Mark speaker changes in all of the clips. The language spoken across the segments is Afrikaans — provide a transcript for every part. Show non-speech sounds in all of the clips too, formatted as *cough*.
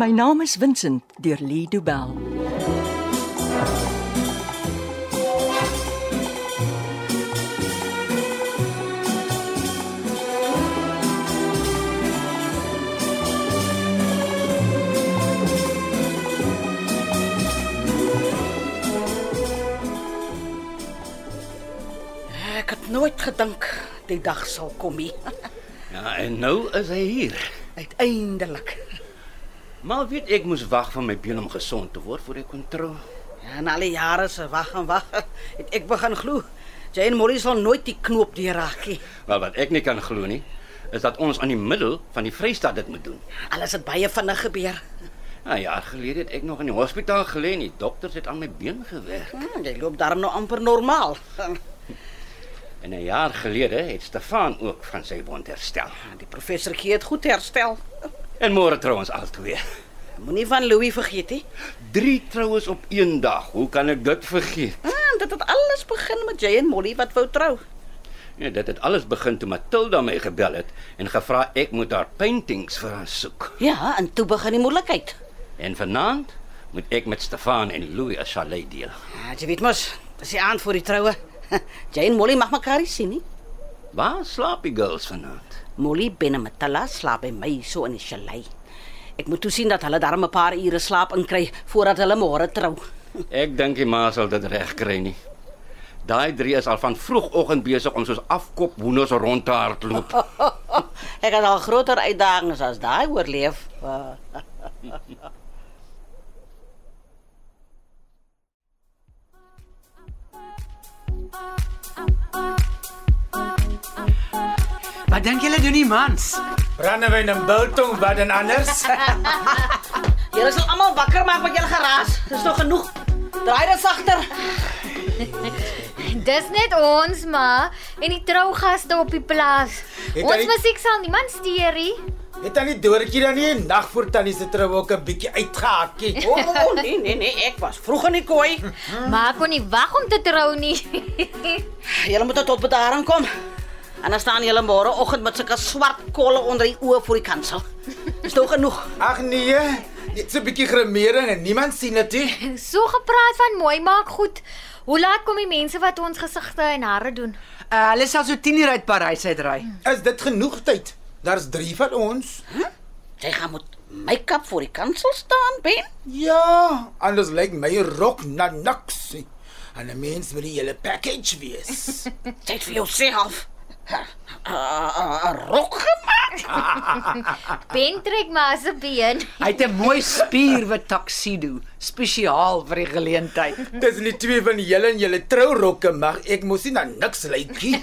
Speaker 1: My naam is Vincent deur Lee Du Bell.
Speaker 2: Ek het nooit gedink die dag sal kom nie.
Speaker 3: Ja, en nou is hy hier.
Speaker 2: Uiteindelik.
Speaker 3: Maar weet ek moes wag vir my been om gesond te word voor ek kon trou.
Speaker 2: Ja, na al die jare se wag en wag, het ek begin glo Jane Morris sal nooit die knoop deurraak nie.
Speaker 3: Wel wat ek nie kan glo nie, is dat ons aan die middel van die Vrystaat dit moet doen.
Speaker 2: Alles het baie vinnig gebeur.
Speaker 3: 'n Jaar gelede het ek nog in die hospitaal gelê en die dokters het aan my been gewerk.
Speaker 2: Hm, jy loop daarom nou amper normaal.
Speaker 3: En 'n jaar gelede het Stefan ook van sy wond herstel.
Speaker 2: Die professor gee dit goed herstel.
Speaker 3: En môre trou ons albei.
Speaker 2: Moenie van Louis vergeet nie.
Speaker 3: Drie troues op een dag. Hoe kan ek dit vergeet?
Speaker 2: Hm, dit het alles begin met Jane Molly wat wou trou.
Speaker 3: Ja, dit het alles begin toe Matilda my gebel het en gevra ek moet haar paintings vir haar soek.
Speaker 2: Ja, en toe begin die moeilikheid.
Speaker 3: En vanaand moet ek met Stefan en Louis 'n chalet deel.
Speaker 2: Ja, jy weet mos, dis die aand voor die troue. Jane Molly mag mekaar nie sien nie.
Speaker 3: Waar slaap die girls vanaand?
Speaker 2: Molly Benematala slaap by my so in die chalet. Ek moet toe sien dat hulle darm 'n paar ure slaap inkry voordat hulle môre trou. *laughs*
Speaker 3: Ek dink die ma sal dit reg kry nie. Daai drie is al van vroegoggend besig om soos afkop hoenders rond te hardloop.
Speaker 2: Ek het al groter uitdagings as daai oorleef. Uh,
Speaker 4: Wat dink julle doen die mans?
Speaker 5: Brandewyn en biltong wat en anders.
Speaker 2: julle sal almal wakker maak met julle geraas. Dis nog genoeg. Draai dit sagter.
Speaker 6: Dis net ons ma en die trougaste op die plaas.
Speaker 5: Het
Speaker 6: ons
Speaker 5: hy-
Speaker 6: musiek sal niemand steur nie.
Speaker 5: Het aan die doortjie dan nie 'n nag voor tannie se trou ook 'n bietjie
Speaker 2: *laughs*
Speaker 5: uitgehakkie.
Speaker 2: O, *laughs* oh, oh, nee nee nee, ek was vroeg in die kooi.
Speaker 6: Ma kon nie wag om te trou nie. *laughs*
Speaker 2: Julle moet tot bedaring kom. En dan staan julle môreoggend met sulke swart kolle onder die oë voor die kansel. Dis nog genoeg.
Speaker 5: Ag nee, net so 'n bietjie grimering en niemand sien dit nie.
Speaker 6: so gepraat van mooi maak goed. Hoe laat kom die mense wat ons gesigte en hare doen?
Speaker 4: Uh, hulle sal so 10 uur uit Parys uitry.
Speaker 5: Is dit genoeg tyd? Daar's 3 van ons.
Speaker 2: Jy gaan moet make-up voor die kansel staan, Ben.
Speaker 5: Ja, anders lyk my rok na niks. nie. En 'n mens wil die hele package wees.
Speaker 2: Tyd vir jouself. 'n Rok gemaak.
Speaker 6: Ben trek maar se
Speaker 5: *laughs*
Speaker 6: been.
Speaker 4: Hy het 'n mooi spierwit tuxedo, spesiaal vir die geleentheid.
Speaker 5: Dis nie twee van julle en julle trourokke mag ek mos nie na niks lyk nie.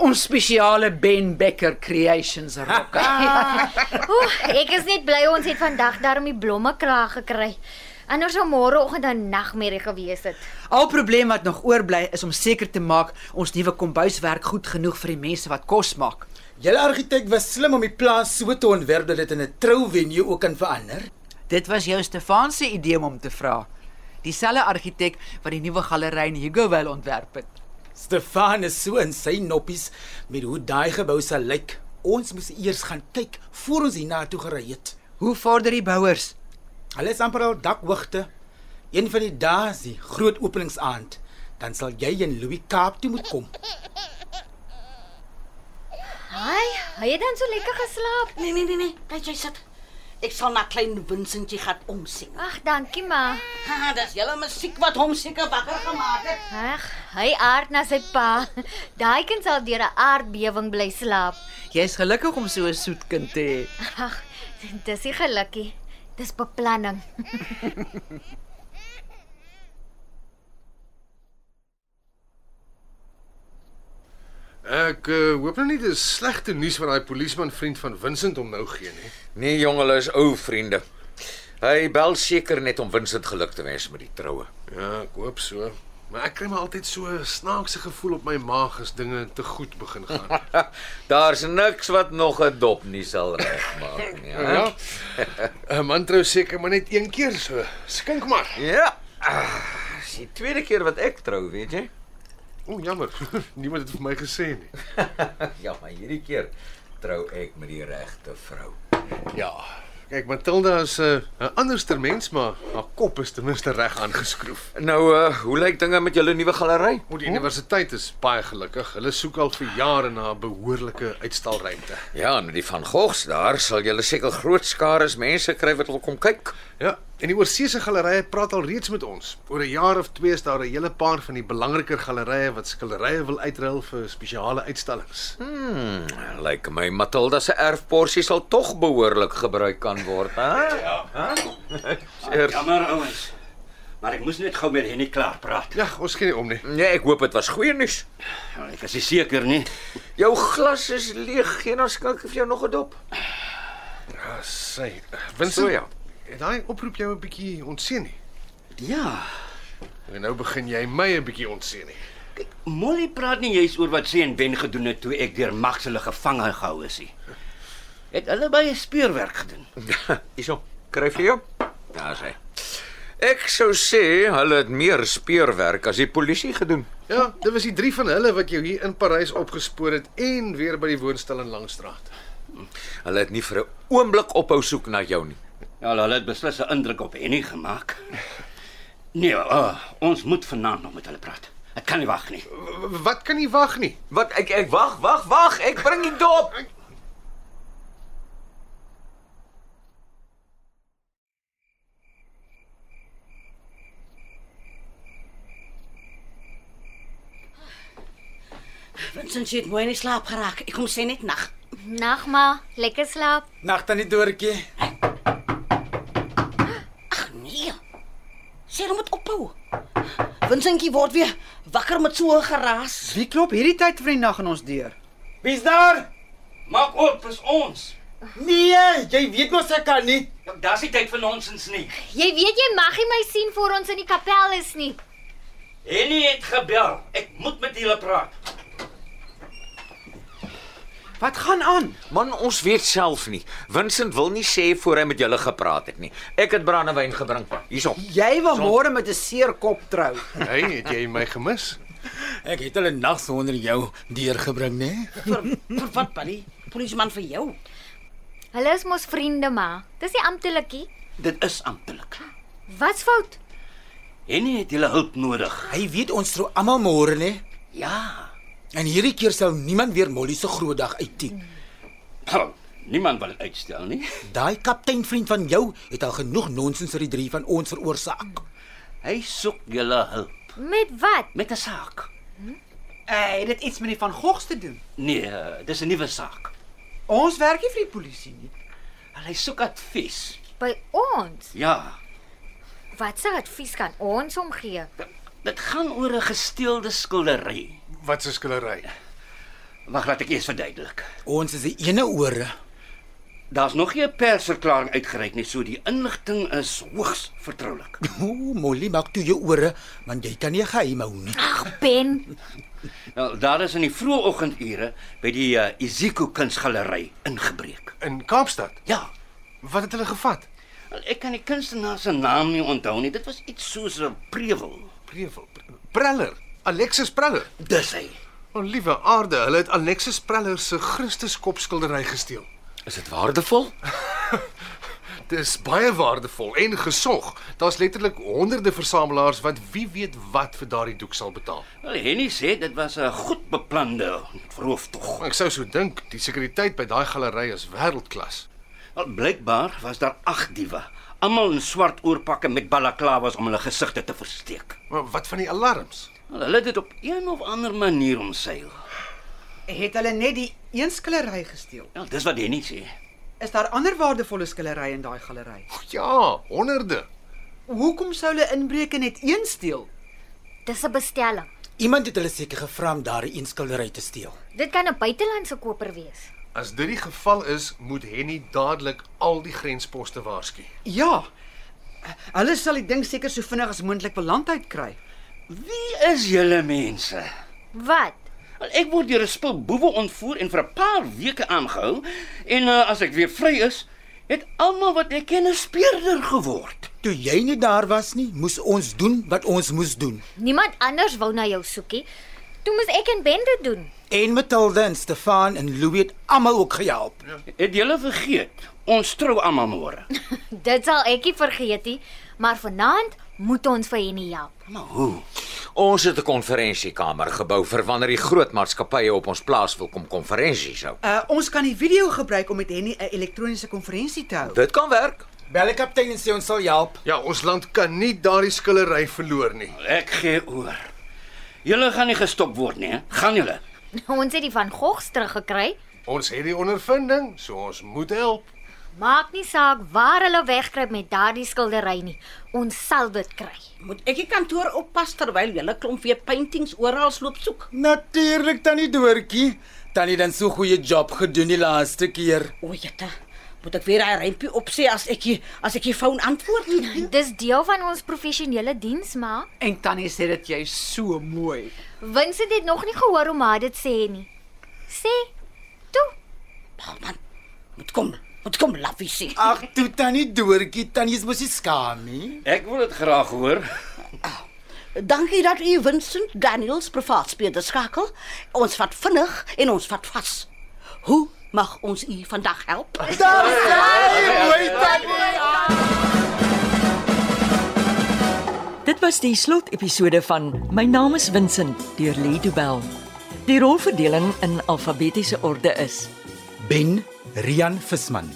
Speaker 4: Ons spesiale Ben Becker Creations rokke.
Speaker 6: Oeh, ek is net bly ons het vandag daarom die blomme kraag gekry. Anders sou môreoggend 'n nagmerrie gewees het.
Speaker 4: Al probleem wat nog oorbly is om seker te maak ons nuwe kombuis werk goed genoeg vir die mense wat kos maak.
Speaker 5: Julle argitek was slim om die plaas so te ontwerp dat dit in 'n trouvenue ook kan verander.
Speaker 4: Dit was jou Stefan se idee om hom te vra. Dieselfde argitek wat die nuwe galery in Hugoville ontwerp het.
Speaker 5: Stefan is so in sy noppies met hoe daai gebou sal lyk. Ons moes eers gaan kyk voor ons hiernatoe gery het.
Speaker 4: Hoe vorder die bouers?
Speaker 5: Hulle is amper al dakhoogte. Een van die dae is die groot openingsaand. Dan sal jy en Louis Kaap toe moet kom.
Speaker 6: Ai, hy het dan so lekker geslaap.
Speaker 2: Nee nee nee nee, bly jy sit. Ek sal na klein Vincentjie gaan omsien.
Speaker 6: Ag, dankie ma.
Speaker 2: Ha, dis julle musiek wat hom seker wakker gemaak het.
Speaker 6: Ag, hy aard na sy pa. Daai kind sal deur 'n aardbewing bly slaap.
Speaker 4: Jy's gelukkig om so 'n soet kind te hê.
Speaker 6: Ag, dis nie gelukkie. Dis beplanning.
Speaker 7: Ek uh, hoop nou nie dis slegte nuus wat daai polisieman vriend van Vincent hom nou gee nie.
Speaker 8: Nee jong, hulle is ou vriende. Hy bel seker net om Vincent geluk te wens met die troue. *laughs*
Speaker 7: Ja, ek hoop so. Maar ek kry maar altyd so 'n snaakse gevoel op my maag as dinge te goed begin *laughs* gaan.
Speaker 8: Daar's niks wat nog 'n dop nie sal regmaak nie. hè?
Speaker 7: ja. 'n Man trou seker maar net een keer so. Skink maar.
Speaker 8: *laughs* Ja. Ah, Dis die tweede keer wat ek trou, weet jy? *laughs*
Speaker 7: O, jammer. *laughs* Niemand het vir my gesê nie.
Speaker 8: Ja, maar hierdie keer trou ek met die regte vrou.
Speaker 7: Ja. Kyk, Matilda is 'n uh, anderster mens, maar haar kop is ten minste reg aangeskroef.
Speaker 8: Nou, uh, hoe lyk dinge met julle nuwe galery?
Speaker 7: Oor die universiteit is baie gelukkig. Hulle soek al vir jare na 'n behoorlike uitstalruimte.
Speaker 8: Ja, en die van Gogs daar sal julle seker groot skares mense kry wat wil kom kyk.
Speaker 7: Ja, en die oorseese galerye praat al reeds met ons. Oor 'n jaar of twee is daar 'n hele paar van die belangriker galerye wat skilderye wil uitruil vir spesiale uitstallings.
Speaker 8: Hm. Hmm, Lyk my Matilda se erfporsie sal tog behoorlik gebruik kan word, hè? Ja. *laughs* Cheers.
Speaker 3: Jammer ouens. Maar ek moes net gou met Henny klaar praat.
Speaker 7: Ja, ons gee nie om nie.
Speaker 8: Nee, ek hoop dit was goeie nuus.
Speaker 3: Ek is nie seker nie.
Speaker 8: Jou glas is leeg. Geen ons skink vir jou nog 'n dop.
Speaker 7: Ja, sy.
Speaker 8: So,
Speaker 7: Vincent,
Speaker 8: ja. *laughs*
Speaker 7: het daai oproep jou 'n bietjie ontseën nie.
Speaker 3: Ja.
Speaker 7: En nou begin jy my 'n bietjie ontseën nie.
Speaker 3: Kyk, Molly praat nie juis oor wat sy en Ben gedoen het toe ek deur Max hulle gevange gehou is nie. Het hulle baie speurwerk gedoen.
Speaker 8: Hierso, kry vir jou. Daar sê. Ek sou sê hulle het meer speurwerk as die polisie gedoen.
Speaker 7: Ja, dit was die drie van hulle wat jou hier in Parys opgespoor het en weer by die woonstel in Langstraat.
Speaker 8: Hulle het nie vir 'n oomblik ophou soek na jou nie.
Speaker 3: Ja, hulle het beslis 'n indruk op Henny gemaak. Nee, uh, ons moet vanaand nog met hulle praat. Ek kan nie wag nie.
Speaker 7: W- Wat kan nie wag nie.
Speaker 8: Wat ek ek wag, wag, wag. Ek bring die dop.
Speaker 2: Vincent sy het mooi in die slaap geraak. Ek kom sê net nag.
Speaker 6: Nag ma, lekker slaap.
Speaker 5: Nag tannie Doortjie.
Speaker 2: Nee. Sy moet ophou. Vincentjie word weer wakker met so 'n geraas.
Speaker 4: Wie klop hierdie tyd van die nag aan ons deur?
Speaker 5: Wie's daar?
Speaker 3: Maak op, dis ons.
Speaker 5: Nee, jy weet mos ek kan nie.
Speaker 3: Ja, daar's nie tyd vir nonsens nie.
Speaker 6: Jy weet jy mag nie my sien voor ons in die kapel is nie.
Speaker 3: Henny het gebel. Ek moet met hulle praat.
Speaker 4: Wat gaan aan?
Speaker 8: Man, ons weet self nie. Vincent wil nie sê voor hy met julle gepraat het nie. Ek het brandewyn gebring. Hierso.
Speaker 4: Jy wil môre met 'n seer kop trou.
Speaker 7: Hey, het jy my gemis?
Speaker 5: Ek het hulle nag sonder jou deurgebring, né? Nee?
Speaker 2: Vir, vir wat, Polly? Polisieman vir jou.
Speaker 6: Hulle is mos vriende ma. Dis nie amptelikie.
Speaker 3: Dit is amptelik.
Speaker 6: Wat's fout?
Speaker 3: Henny het julle hulp nodig.
Speaker 5: Hy weet ons trou almal môre, né? Nee?
Speaker 3: Ja.
Speaker 5: En hierdie keer sal niemand weer Molly se groot dag uittien.
Speaker 3: Oh, niemand wil dit uitstel nie.
Speaker 5: Daai kapteinvriend van jou het al genoeg nonsens vir die drie van ons veroorsaak.
Speaker 3: Hy soek julle hulp
Speaker 6: Met wat?
Speaker 3: met 'n saak.
Speaker 4: Eh, het dit iets met die van Gogs te doen?
Speaker 3: Nee, eh, dis 'n nuwe saak.
Speaker 4: Ons werk nie vir die polisie nie.
Speaker 3: En hy soek advies.
Speaker 6: By ons.
Speaker 3: Ja.
Speaker 6: Wat se advies kan ons hom gee?
Speaker 3: Dit gaan oor 'n gesteelde skildery.
Speaker 7: Wat 'n skillery.
Speaker 3: Wag, laat ek eers verduidelik.
Speaker 5: Ons is die ene ore.
Speaker 3: Daar's nog nie 'n persverklaring uitgereik nie, so die inligting is hoogs vertroulik.
Speaker 5: Ooh, Molly maak toe jou ore, want jy kan nie 'n geheim hou nie.
Speaker 6: Ag Ben,
Speaker 3: Nou, daar is in die vroeë oggendure by die uh, Iziko Kunsgalery ingebreek.
Speaker 7: In Kaapstad.
Speaker 3: Ja.
Speaker 7: Wat het hulle gevat?
Speaker 3: Wel, Ek kan die kunstenaar se naam nie onthou nie. Dit was iets soos 'n prewel.
Speaker 7: Prevel. Preller. Alexis Preller.
Speaker 3: Dis hy.
Speaker 7: O liewe aarde, hulle het Alexis Preller se Christuskopskildery gesteel.
Speaker 8: Is dit waardevol?
Speaker 7: Dis baie waardevol en gesog. Daar's letterlik honderde versamelaars wat wie weet wat vir daardie doek sal betaal.
Speaker 3: Wel, Henny sê dit was 'n goed beplande rooftog.
Speaker 7: Ek sou so dink, die sekuriteit by daai galery is wêreldklas.
Speaker 3: Wel, blykbaar was daar 8 diewe, almal in swart oorpakke met balaklavas om hulle gesigte te versteek.
Speaker 7: Maar wat van die alarms?
Speaker 3: Wel, hulle het dit op een of ander manier omseil.
Speaker 4: Het hulle net die een skillery gesteel?
Speaker 3: Ja, dis wat Henny sê.
Speaker 4: Is daar ander waardevolle skillerye in daai galery?
Speaker 7: Ja, honderde.
Speaker 4: Hoekom sou hulle inbreek en net een steel?
Speaker 6: dis 'n bestelling.
Speaker 5: Iemand het hulle seker gevra om daardie een skildery te steel.
Speaker 6: Dit kan 'n buitelandse koper wees.
Speaker 7: As dit die geval is, moet Henny dadelik al die grensposte waarsku.
Speaker 4: Ja. Hulle sal die ding seker so vinnig as moontlik beland uit kry.
Speaker 3: Wie is julle mense?
Speaker 6: Wat?
Speaker 3: Wel, Ek word deur 'n spul boewe ontvoer en vir 'n paar weke aangehou en uh, as ek weer vry is, het almal wat ek ken 'n speurder geword.
Speaker 5: Toe jy nie daar was nie, moes ons doen wat ons moes doen.
Speaker 6: Niemand anders wou na jou soekie. Toe moes ek en Ben dit doen.
Speaker 5: En Matilda en Stefan en Louis het almal ook gehelp.
Speaker 3: Het julle vergeet? Ons trou almal môre.
Speaker 6: Dit sal ek nie vergeet nie, maar vanaand moet ons vir Henny help. *laughs*
Speaker 8: Ons het 'n konferensiekamer gebou vir wanneer die groot maatskappye op ons plaas wil kom konferensies hou.
Speaker 4: Uh ons kan die video gebruik om met Henny 'n elektroniese konferensie te hou.
Speaker 8: Dit kan werk.
Speaker 5: Bel die kaptein en sê ons sal help.
Speaker 7: Ja, ons land kan nie daardie skillery verloor nie.
Speaker 3: Ek gee oor. Julle gaan nie gestop word nie, hè? Gaan julle?
Speaker 6: Ons het die van Gogs teruggekry.
Speaker 7: Ons het die ondervinding, so ons moet help.
Speaker 6: Maak nie saak waar hulle wegkruip met daardie skildery nie. Ons sal dit kry.
Speaker 2: Moet ek die kantoor oppas terwyl julle klomp weer paintings oral loop soek?
Speaker 5: Natuurlik tannie Doortjie. Tannie het dan so 'n goeie job gedoen die laaste keer.
Speaker 2: O, jette. Moet ek weer daai rympie opsê as ek hier as ek hier foon antwoord nie?
Speaker 6: Dis deel van ons professionele diens, maar
Speaker 4: En Tannie sê dat jy so mooi.
Speaker 6: Vincent het nog nie gehoor hoe maar dit sê nie. Sê, toe,
Speaker 2: Oh, man. Moet kom. Moet kom laffie sê.
Speaker 5: Ag, toe tannie Doortjie, tannie is mos nie skaam nie.
Speaker 3: Ek wil dit graag hoor.
Speaker 2: Dankie dat u Vincent Daniels privaat speelde skakel. Ons vat vinnig en ons vat vas. Hoe mag ons u vandag help?
Speaker 5: Daar sê mooi tannie.
Speaker 1: Dit was die slotepisode van My naam is Vincent deur Lee Du Bell. Die rolverdeling in alfabetiese orde is:
Speaker 5: Ben Rian Visman.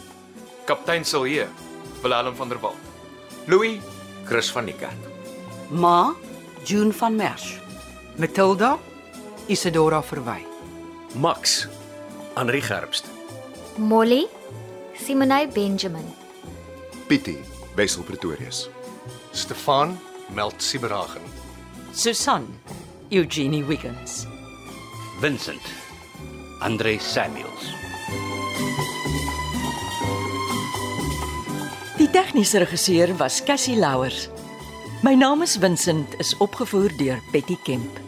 Speaker 9: Kaptein Silje, Willem van der Walt. Louis,
Speaker 8: Chris van die kerk.
Speaker 2: Ma June van Merch.
Speaker 4: Matilda Isidora verwy.
Speaker 9: Max, Henri Gerbst.
Speaker 6: Molly, Simonay Benjamin.
Speaker 10: Pietie, Wessel Pretorius.
Speaker 7: Stefan meld Siberagen.
Speaker 1: Susan Eugenie Wiggins.
Speaker 3: Vincent. Andre Samuels.
Speaker 1: Die tegniese regisseur was Cassie Louwers. My naam is Vincent is opgevoer deur Betty Kemp.